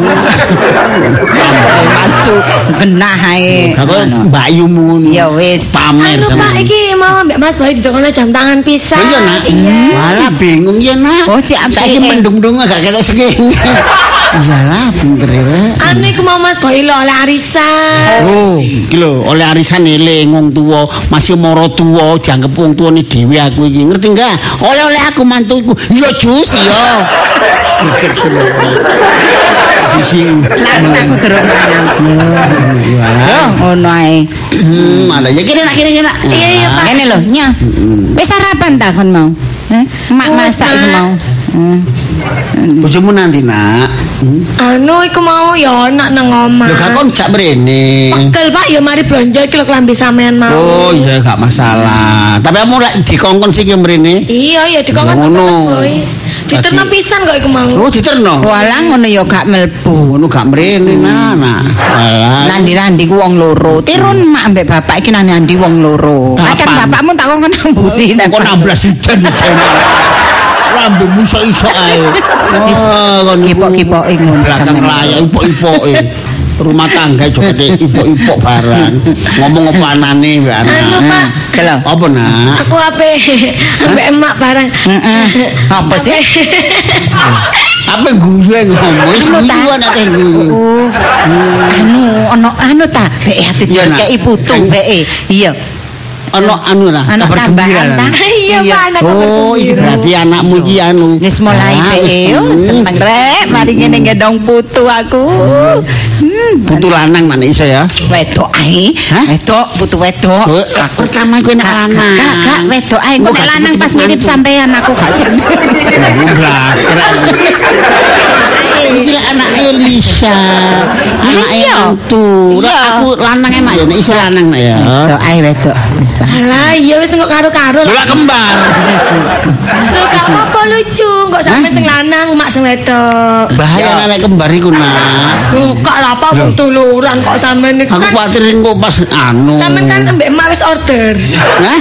Maju genah ae. Kau mbayumu ngono. Ya wis. Pamer Anu Pak, sama. iki mau ambek Mas Bayu ditekono jam tangan pisan. Iya nak. Iya. Walah bingung ya nak. Oh, Cik, apa Saiki sih, eh? mendung-dung gak ketok sekene. Iyalah pinter ya. Rek. Anu iku mau Mas Boy lho oleh arisan. Oh, iki lho oleh arisan eling wong tuwa, masih moro tuwa, jangkep wong tuwane dhewe aku iki. Ngerti enggak? Oleh-oleh aku mantu iku. Ya jus ya. Greget lho. Bisi. Selamat aku gerung mangan. Walah. Oh, ngono ae. Hmm, ada ya kira nak kira nak. Iya iya Pak. Ah. Ngene lho, nya. Wis sarapan ta kon mau? Eh, mak Wis, masak iku Mak. mau. Hmm. Bojomu nanti nak. Hmm. Anu iku mau ya enak nang omah. Lho gak kon gak mrene. Pegel Pak ya mari blonjo iki lho klambi sampean mau. Oh, iya gak masalah. Tapi kamu lek dikongkon sik ya mrene. Iya ya dikongkon sama Ngono. Mas Boy. Diterno Tadi- pisan kok iku mau. Oh, diterno. Walah ngono ya gak mlebu. Ngono gak mrene nak. nak. Walah. Nandi-randi ku wong loro. Tirun mak ambek bapak iki nang nandi wong loro. Kadang Kapan? Oh, bapakmu tak kok nang buri. Kok 16 ijen ijen. Rambutmu iso-iso ae. Oh, Wah, kon iku Kipok-kipoke ngono Belakang sampean. layak ipok-ipoke. Rumah tangga juga dek ipok-ipok barang. Ngomong apa anane mbak Ana. Anu Pak, Delok. Apa nak? aku ape ambek emak barang. Heeh. Apa sih? Apa guyu ae ngomong? Wis Anu, Guyu tak. anak teh guyu. Oh. Anu ono anu ta beke ati Iya, Nak. dikeki putu Kan- beke. Iya. Ana anu lah, Anak kabar tambahan, gembira Ah, lah. tak? Iya Iya. Pak anak kabar Oh, itu gembira. berarti anakmu iki anu. Wis mulai Ah, wis beke. tenang. oh, Seneng rek mari ngene gendong putu aku. Hmm. Putu lanang mana iso ya? Wedok ae, Hah? wedok putu wedok. Oh, pertama kowe nek Gak, lanang. gak, gak, wedok ae. Kok Kok nek gak lanang pas cepet-cepet mirip mantu? sampean aku gak seneng. Iki lek anake Lisa. Anake Iya. itu. Lah Iya. aku lanang enak ya, nek iso lanang nek ya. Wedok ae wedok. Wis lah. Alah iya wis engko karo-karo Lha lah. kembar. Lho gak apa-apa lucu, kok sampean sing lanang, mak sing wedok. Bahaya nek lek kembar iku nak. Lho kok lah apa wong tuluran kok sampean niku Aku kan kuwatir engko pas anu. sampean kan ambek emak wis order. Hah?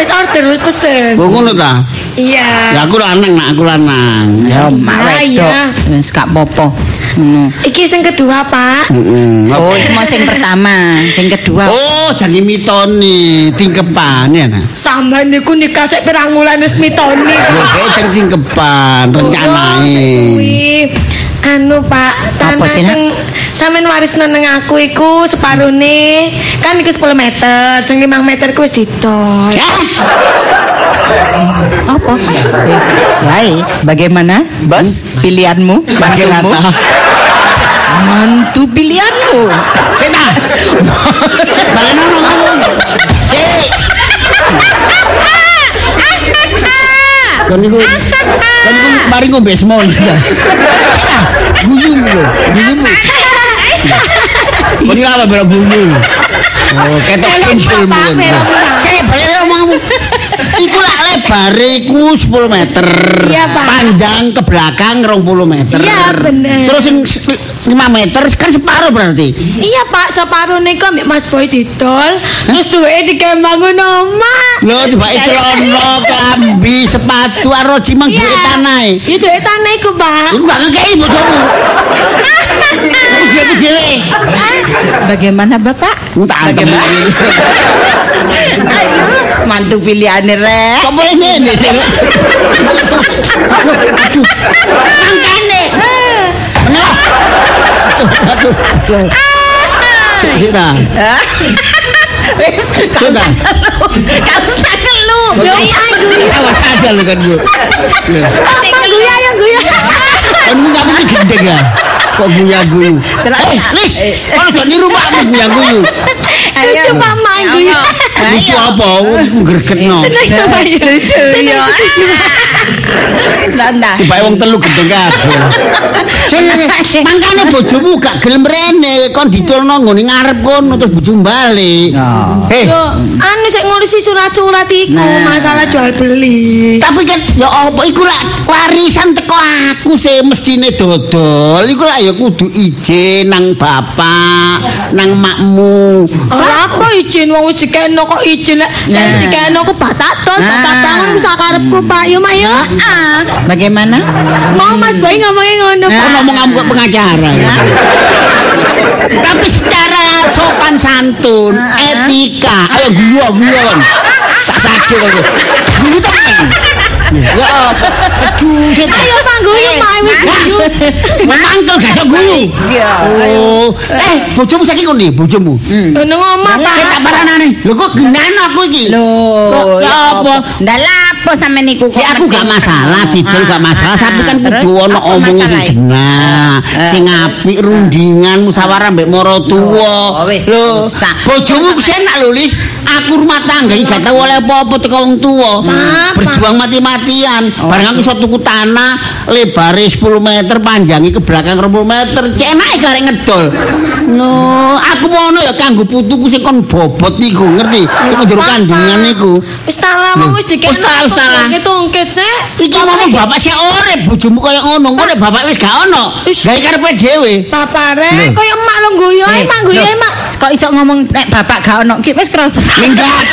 Wis order wis pesen. Kok ngono ta? Iya. Ya aku lanang nak, aku lanang. Ya oh, mak Ah, wedok. iya. Wis gak apa-apa. Ngono. Iki sing kedua, Pak. Heeh. Oh, itu mau sing pertama, sing kedua. Oh, jangi mitoni tingkepan ya nak. Sampeyan niku nikah sik pirang wulan wis mitoni. Lho, kaya ceng tingkepan Oh, Lho, rencanae. kuwi. Anu Pak, tanah Apa sih, Nak? sing sampean waris nang aku iku separone kan iku 10 meter, sing 5 meter ku wis didol. Apa? Eh, Baik, bagaimana, Bos? Pilihanmu, mantumu? Bagaimana? Mantu pilihanmu. Cina. Balena no ngomong. Cek. Kan niku kan niku mari ngombe Iya, semon. Guyu lho, guyu. Ini apa belok bumi? Oh, ketok Belok kincul apa, mungkin. belok apa? Sebare omongmu. Iku lak lebare iku 10 meter. Iya, Pak. Panjang ke belakang 20 meter. Iya, bener. Terus yang se- 5 meter kan separuh berarti. Iya Pak, separuh niku ambek Mas Boy didol, terus duweke dikembangno omah. Lho tibake celana, klambi, sepatu karo cimang Iya. duwe e? tanahe. Ya duwe tanah iku, Pak. e. Iku gak ngekei bojomu. Iku dhewe dhewe. Bagaimana Bapak? Entak antemu. Aduh, mantu pilihannya rek. Kok boleh ngene? Aduh. aduh. Mangkane. Menawa. Aduh. Aduh. Sik sik ta. Wis, Sik ta. kau usah kelu. Yo Sama saja lho kan Bu. Guyu ayo guyu. Kan iki kami iki gendeng ya. Kok guyu-guyu. Eh, wis. Ojo niru makmu guyu-guyu. Lucu Ayo. Pak e? Mang guyu. Lucu apa? Wong iku gregetno. Lucu yo. Nanda. Tiba wong telu gendeng kabeh. Jenenge mangkane bojomu gak gelem rene, kon diculno ngene ngarep kono terus bojomu bali. Eh, Yo, anu sik ngurusi surat-surat iku, Nah. masalah jual beli. Eh, tapi kan ya apa iku lak warisan teko aku sih mestine dodol. Iku lak ya kudu ijin nang bapak, nang makmu. Ora apa izin wong wis dikeno kok izin lek lek wis dikeno ku batak ton, batak Nah. bangun wis karepku Pak. Yo Mak yo. Bagaimana? Mau Mas Boy ngomongnya ngono Kok Pak. ngomong ngambek pengacara. Tapi secara sopan santun, etika, ayo gua gua kan. Tak sadu kan. Guru temen. Ya apa? Aduh, setan. Ayo Pak guyu Mak wis guyu. Memangkel gak iso guyu. Iya, Oh, eh bojomu saiki kon ndi bojomu? Ngono omah Pak. Saya tak paranane. Lho kok gendan aku iki? Loh, Kok- ya apa? Ndak lapo sampe niku Si aku gak ngerti. masalah, didol gak masalah, Ah, tapi kan terus kudu ono apa omongan sing masalahnya? genah, sing apik, rundingan musyawarah mbek moro tuwa. Oh, wis, Lho, rusak. bojomu senak lho, Lis. Aku rumah tangga iki gak tau oleh apa-apa teko wong tuwa. Berjuang mati-matian. Oh, Bareng aku iso tuku tanah lebare 10 meter, panjangi ke belakang 20 meter. Cenake karek ngedol. No, aku mau ono ya kanggo putuku sing kon bobot niku, ngerti? Sing njero kandungan niku. Wis tak lawang wis dikene. Wis tak, wis tak. Ketungkit sik. Iki ngomong bapak sik urip, bojomu kaya ngono. Kok nek bapak wis gak ono, Ish. gawe karepe dhewe. Papare koyo emak lo guyu ae Mak guyu ae Mak. Kok iso ngomong nek bapak gak ono ki wis krasa. Minggat.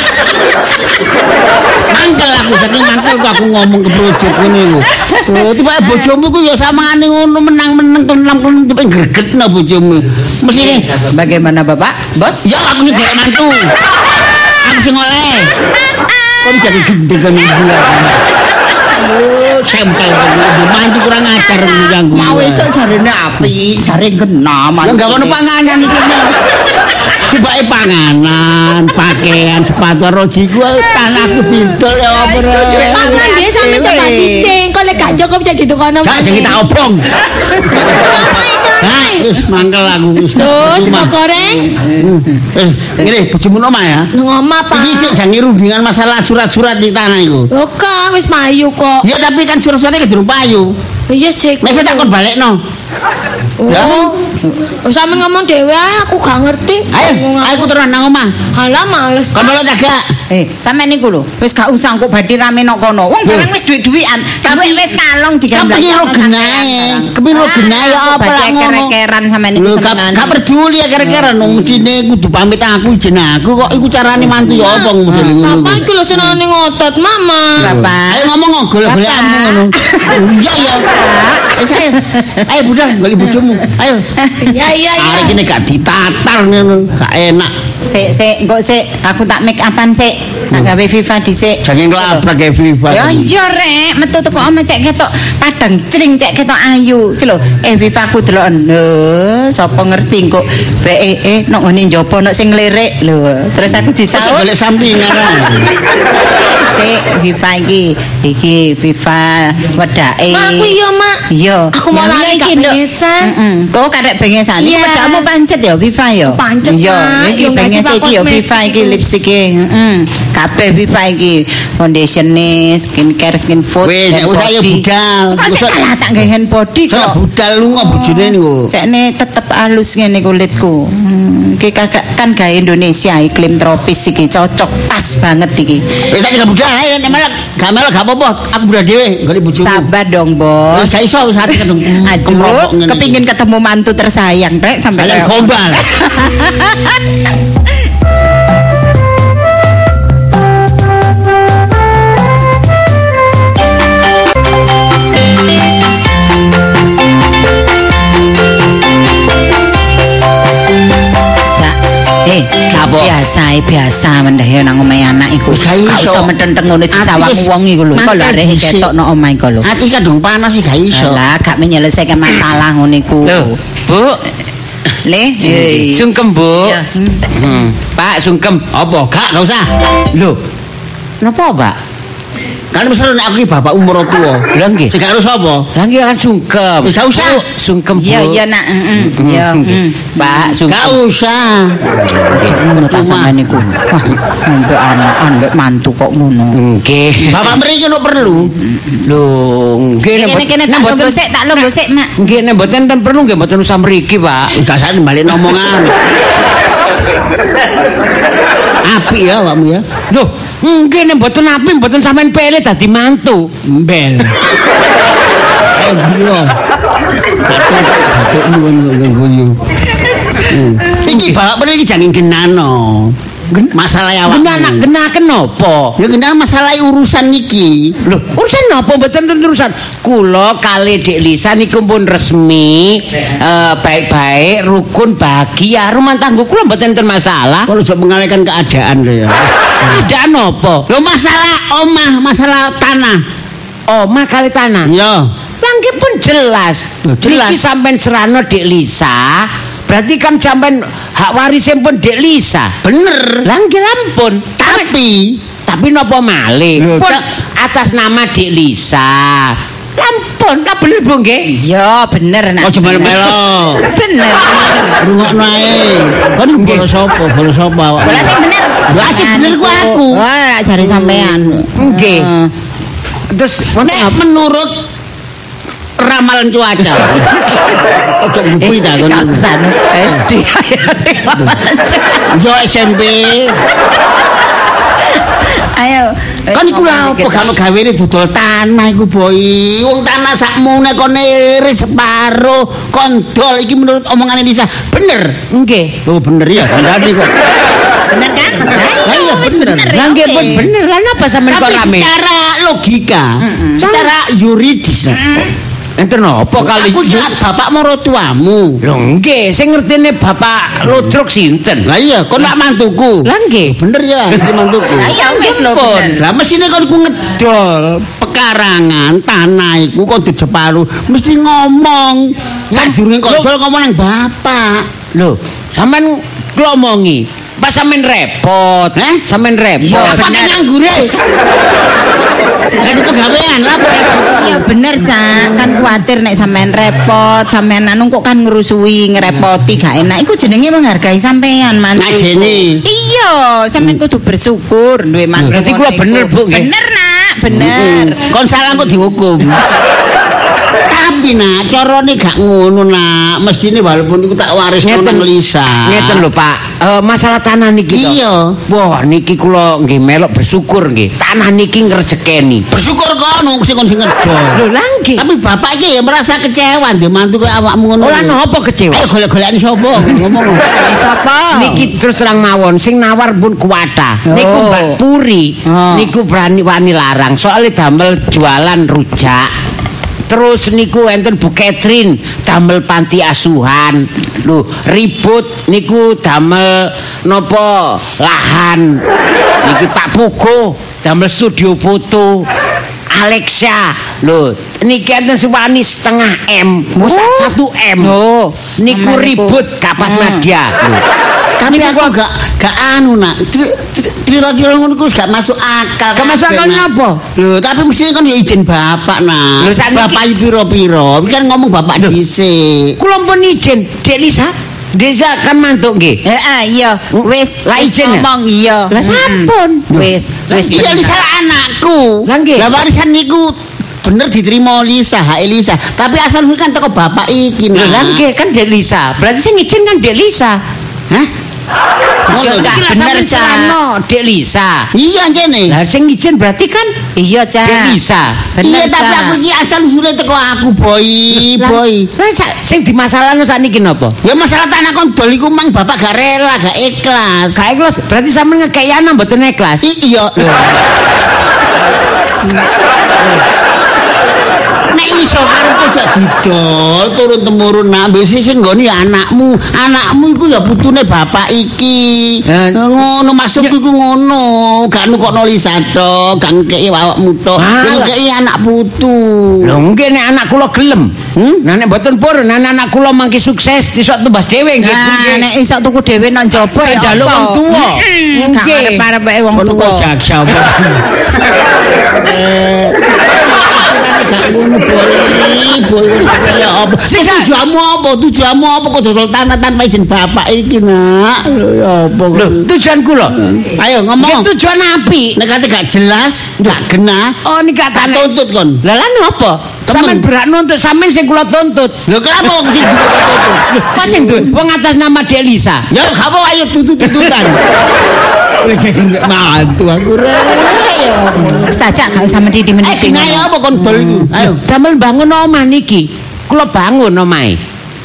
Mangkel aku saking mangkel kok aku ngomong ke project ngene iku. Oh, tiba bojomu ku ya samane ngono menang-menang kelenam-kelenam tipe gregetno bojomu. Mesti Bagaimana Bapak? Bos? ya aku sing golek mantu. Aku sing oleh. Kon jadi gede kan ibu lah. Oh, sempel kan. mantu kurang ajar ngono ganggu. Mau esuk jarene api, jare kena Ya enggak ono panganan iku. Nek. Tibake panganan, pakaian, sepatu rojiku tanahku didol ya apa. Rek. Tangan dia sampe coba dising. Kok lek gak cukup jadi kono. Gak jadi tak obong. Nah, wis mangkel aku wis. Loh, sego Cuma. goreng Hmm. Eh, ngene bojomu nomah ya. nang omah Pak. Iki sik jange rundingan masalah surat-surat di tanah iku. Lho kok wis mayu kok. Ya tapi kan surat-suratnya ke jerung payu. Iya sik. Mesti tak kon balekno. Ya. Oh. Oh, Sampe ngomong dhewe ae aku gak ngerti. Ayo, ayo aku terus nang omah. Halah males. Kon boleh tak gak? Eh, sampe niku lho, wis gak usah engko badhe rame nok kono. Wong barang wis duit-duitan, tapi wis Ya, kalong digamblak. Kepiro genae, kepiro Ah, Ah, genae ya apa lah ngono. keran sampe niku Lho gak gak peduli ya kira-kira nung mestine kudu pamit aku izin aku kok iku carane mantu ya apa model ngono. Papa iku lho senengane ngotot mama. Bapak. Ayo ngomong ngogol golekanmu ngono. Iya ya. Wis, Ayo, ayo budal golek bojomu. Ayo. Ya iya iya. Arek ini gak ditatar ngono, gak enak. Ah, Sik sik, engko sik, aku tak make upan sik. Tak gawe FIFA dhisik. Jangan kelabrak ya Viva. Ya iya rek, metu teko omah cek ketok padang cring cek ketok ayu. Iki lho, eh Viva ku deloken. Lho, sapa ngerti kok beke eh nok ngene njaba nok sing ngelirik lho. Terus aku Saya disaut. golek sampingan. ae. Sik Viva iki, iki Viva wedake. Mak, Aku iya Mak. Iya. Aku mau Ya, iya, lari iki, gak Nduk. bengesan. Heeh. Kok karek bengesan? Iki Iya. pedakmu pancet ya Viva ya? Pancet, Iya, Mak. iki Ya, nggak Jenenge Viva iki ya Cosmetic Viva iki iku. lipstike. Heeh. Kabeh Viva iki foundatione, skincare, skin food, Weh, nek usah ya budal. Kok sik Usah- kalah tak nggae hand body Salah kok. budal lu kok bojone niku. Cekne tetep alus ngene kulitku. Hmm, iki kagak kan gawe Indonesia iklim tropis iki cocok pas banget iki. Wis tak tinggal budal ae nek melek. Gak melek gak apa-apa, aku budal dhewe golek bojomu. Sabar dong, Bos. Wis gak iso wis ati kadung. Aduh, kepingin ketemu mantu tersayang, Rek, sampai lewat. kalian kan gombal. Cak. Eh, Apa? biasa, eh, biasa mendah ya nang omahe anak iku. Gak Gak iso. iso metenteng ngono di Ati sawang wis wong iku lho. Kok lho makan arek dhisik. ketokno omahe iku lho. Ati kadung panas iki gak iso. Alah, gak menyelesaikan masalah ngono iku. Loh, Bu, Le, Iya. hei. sungkem, Bu. Iya. Ya. Hmm. Pak, sungkem. Apa gak gak usah. Loh. Napa, Pak? Kan wis seru nek aku iki bapak umur tuwa. Lha nggih. Sing gak harus apa? Lah kira kan sungkem. Nggak usah. Bu, sungkem, Bu. Hmm. Iya, iya nak. heeh, Iya. Hmm. heeh. Pak, Gak sungkem. usah. Cek ngono tak sampean iku. Wah, ngombe anak, ambek mantu kok ngono. Nggih. Bapak mriki ono perlu. Loh, nggih. nek Kene mboten- kene nek tak mboten- lungguh sik, tak lungguh sik, Mak. Nggih, nek mboten ten perlu nggih mboten usah mriki, Pak. Enggak usah balik omongan. Api ya awakmu ya. Loh, nggih nek mboten apik mboten sampean pilih dadi mantu. Mbel. Eh, Iya. Batukmu kan kok gak guyu. Hmm. Iki bapak perlu iki jangan genano. Masalah awakmu. Genana genaken napa? Ya genah masalah urusan niki. Loh, urusan napa mboten ten urusan? Kula kali Dik Lisa niku pun resmi eh, baik-baik rukun bahagia rumah tangga kula mboten ten masalah. Kalau coba mengalihkan keadaan lo ya. Keadaan napa? Lo masalah omah, masalah tanah. Omah kali tanah. Yo. Langgi pun jelas. Loh, jelas. Niki sampean serano Dik Lisa, berarti kan sampean hak warisin pun Dik Lisa. Bener. Langgi lampun. Tapi Tapi nopo malih? Loh, Pun Cak. atas nama Dik Lisa. Lampun, lah bener Bu nggih. Iya, bener nak. Oh cuma melo. Bener. Rungok nae. Kan iku bola sapa? Bola sapa awak? Bola sing bener. Bola sing bener ku aku. Oh, nak jari sampean. Nggih. Hmm. Terus wonten Nek menurut ramalan cuaca. Iya, Ojo ngupui ta kon. Kaksan SD. Yo SMP. Ayo. Kan iku lha opo gak gawene dodol tanah iku boy. Wong tanah sakmu nek kon iris separo kondol iki menurut omongane Lisa bener. nggih. Loh bener ya kandhani kok. Bener kan? Lah iya bener. ya, Lah nggih pun bener lah napa sampean kok Tapi rame? secara logika, secara yuridis nah. Enten napa kali? Aku kira bapak moro tuamu. Lho nggih, sing ngertine Bapak Lodrok sinten? Lah iya, kon nak mantuku. Lah nggih. Bener ya, iki mantuku. Lah iya wis lho Pun. bener. Lah mesine kon ku ngedol pekarangan tanah iku kon dijeparu mesti ngomong. Sadurunge Loh. kon dol ngomong nang bapak. Lho, sampean klomongi. Pak sampean repot. Heh? Sampean Yo, repot. apa kan nganggure? Lah di pegawean lah. Iya bener, Cak. Kan kuatir nek sampean repot, sampean anu kok kan ngerusui, ngerepoti gak enak. Iku jenenge menghargai sampean, mantu. Nah, Ngajeni. Iya, sampean kudu bersyukur duwe Hmm. mantu. Berarti ngono kula iku. bener, Bu, nggih. Hmm. Bener, Nak. Bener. Kon salah kok dihukum. Tapi nak carane gak ngono nak. Mestine walaupun iku tak waris Ngeten. nang Lisa. Ngeten lho Pak, Eh, masalah tanah niki to. Iya. Wah, niki kula nggih melok bersyukur nggih. Tanah niki ngrejekeni. Bersyukur kono sing kon sing ngedol. Lho lah nggih. Tapi bapak iki ya merasa kecewa ndek mantu koyo awakmu ngono. Ora napa kecewa. Ayo golek-golekane sapa ngomong. Eh, Sopo? Niki terus terang mawon, sing nawar pun kuwata. Niku Oh. Mbak Puri, Oh. niku berani wani larang. Soale damel jualan rujak. Terus niku enten Bu Catherine damel panti asuhan. Lho, ribut niku damel nopo lahan. Niki Pak Pugo damel studio foto. Alexa, lho, niki enten sewani setengah M, Oh. satu M. Oh. Niku Aman iku. ribut kapas Hmm. media. Tapi aku gak gak anu nak. Ceri- ceri- Cerita-cerita ngono ku gak masuk akal. Gak masuk kabeh, akal Nak. nyapa? Lho, tapi mesti kan ya izin bapak nak. Lho, sakniki- Bapak iki piro-piro. Iki kan ngomong bapak dhisik. Kulon pun izin, Dek Lisa, Desa kan mantuk nggih. Heeh, iya. Wis, Hmm. Lah wis ijen ya? ngomong iya. Hmm. Lah sampun. Wis, wis Iya bener. Lisa anakku. Lah nggih. Lah warisan niku bener diterima Lisa, hak e Lisa. Tapi asal usul kan teko bapak iki. Nak. Lah nggih kan Dek Lisa. Berarti sing ngijin kan Dek Lisa. Hah? Iya, Cak. Ngono, Oh, Iki Cak. lah bener, sampean Cak. celano Dek Lisa. Iya kene. Lah sing ngijin berarti kan Iya, Cak. Dek Lisa. bener, Iya tapi Cak. aku iki asal usule teko aku, boy, Lah, boy. Lah sa- sing dimasalahno sakniki napa? Ya masalah tanah kondol iku mang bapak gak rela, gak ikhlas. Saya ikhlas, berarti sampean ngekeki anak mboten ikhlas. I, iya. lho. Nek iso karo kok didol turun temurun nak mbek sing nggone ya anakmu. Anakmu iku ya putune bapak iki. Eh. ngono maksudku iku ngono. Gak nukokno Lisa tok, gak ngekeki awakmu tok. Alah. Ya ngekeki anak putu. Lho mungkin nek anak kula gelem. Hmm? Nah nek mboten purun nek anak kula mangki sukses iso tumbas dhewe nggih. Nah, nggih. nek iso tuku dhewe nang jaba ya Njaluk apa? wong tuwa. Heeh, Gak Nggih. arep-arepe wong Kono tuwa. kok jaksa apa? Eh, aturannya gak ngono boleh, boleh kaya apa? Eh, Tujuanmu apa? Tujuanmu apa kok dodol tanah tanpa izin bapak iki, Nak? Lho, Ya apa? Lho, tujuan kula. Nggih Ayo ngomong. tujuan apik. Nek kate gak jelas, gak kena, Oh niki tak katane. tuntut kon. Lah lan apa? Temen. Sampeyan berak nuntut, sampeyan sing kula tuntut. Lho kenapa kok sing tuntut? Kok sing duwe wong atas nama Dek Lisa. Ya gak apa ayo tuntut-tuntutan. Lagi kena mantu aku rek. Stajak gak usah mendidi Eh, mendidi. kena ya apa kon dol iku? Ayo. Sampeyan bangun omah niki. Kula bangun omahe.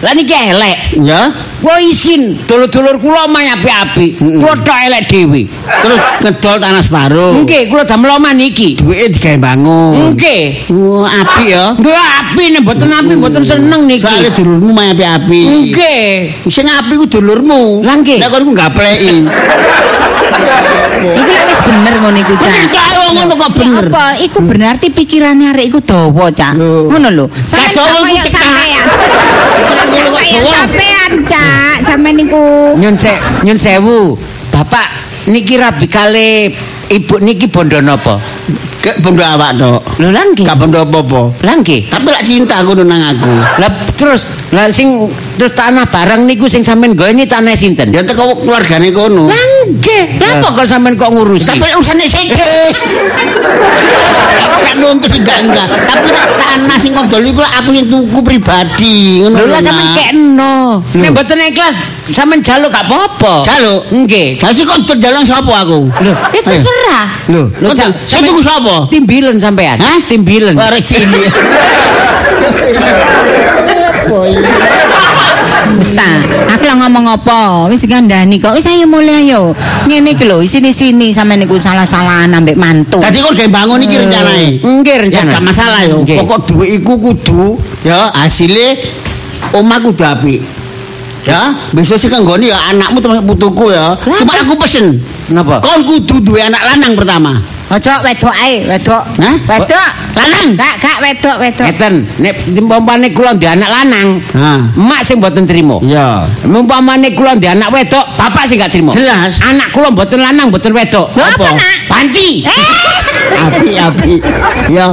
Lah niki elek. Ya. Kula isin dulur-dulur kula omah apik-apik. Kula tok elek dhewe. Terus ngedol tanah separuh. Nggih, kula damel omah niki. Duitnya digawe bangun. Nggih. Wah, api ya. Nggih api nek mboten api mboten seneng Soalnya niki. dulurmu main api-api. Nggih. Sing api ku dulurmu. Lah, nggih. Nek kon ku gapleki. Iku lek wis bener ngono iku, Cak. Cak wong ngono kok bener. Apa iku berarti pikirane arek iku dawa, Cak. Lho. Ngono lho. Gak dawa iku kaya cekak. sampean. Ngono kok Kaya dawa. sampean, Cak. Sampean niku Nyun se nyun sewu. Bapak niki rabi kali ibu niki bondo napa? Gak bondo awak tok. Lho lah nggih. Gak bondo apa-apa. Lah nggih. Tapi lak cinta ngono nang aku. Lah terus lah sing terus tanah barang niku sing sampean gawe ini tanah sinten? Ya teko keluargane kono. Lah nggih. Lah kok kok sampean kok ngurusi? Tapi urusannya siji. Gak nuntut sih gak enggak. Tapi lak tanah sing kon dol iku lak aku yang tuku pribadi. Ngono Lho lah Nak. sampean kekno. Nek mboten ikhlas sampean jaluk gak apa-apa. Jaluk? Nggih. Lah sih kon dol jalan sapa aku? Lho, itu Ayo. serah. Lho, Lho, kok sam- saya tuku sapa? Timbilen sampean. Hah? Timbilen. Arek cilik. Wis ta, aku lah ngomong apa? Wis gandani kok. Wis ayo mulai ayo. Ngene iki lho, isini-sini sampean niku salah-salahan ambek mantu. Tadi kon gawe bangun iki rencanae. Nggih Ya rencana. gak masalah yo. Nggih. Pokok dhuwit iku kudu ya hasilnya omah kudu apik. Ya, besok sih kan ya anakmu termasuk putuku ya. Cuma aku pesen, Napa? kon kudu duwe anak lanang pertama. nah? Ojo wedok ae, wedok. Hah? Wedok. Lanang. Gak, gak wedok, wedok. Eten, nek umpamane kula ndek anak lanang, Nah, emak sing mboten trima. ya. Umpamane kula ndek anak wedok, bapak sing gak trima. Jelas. Anak kula mboten lanang, mboten wedok. Lho, apa, Nak? Panci. Apik-apik. Ya.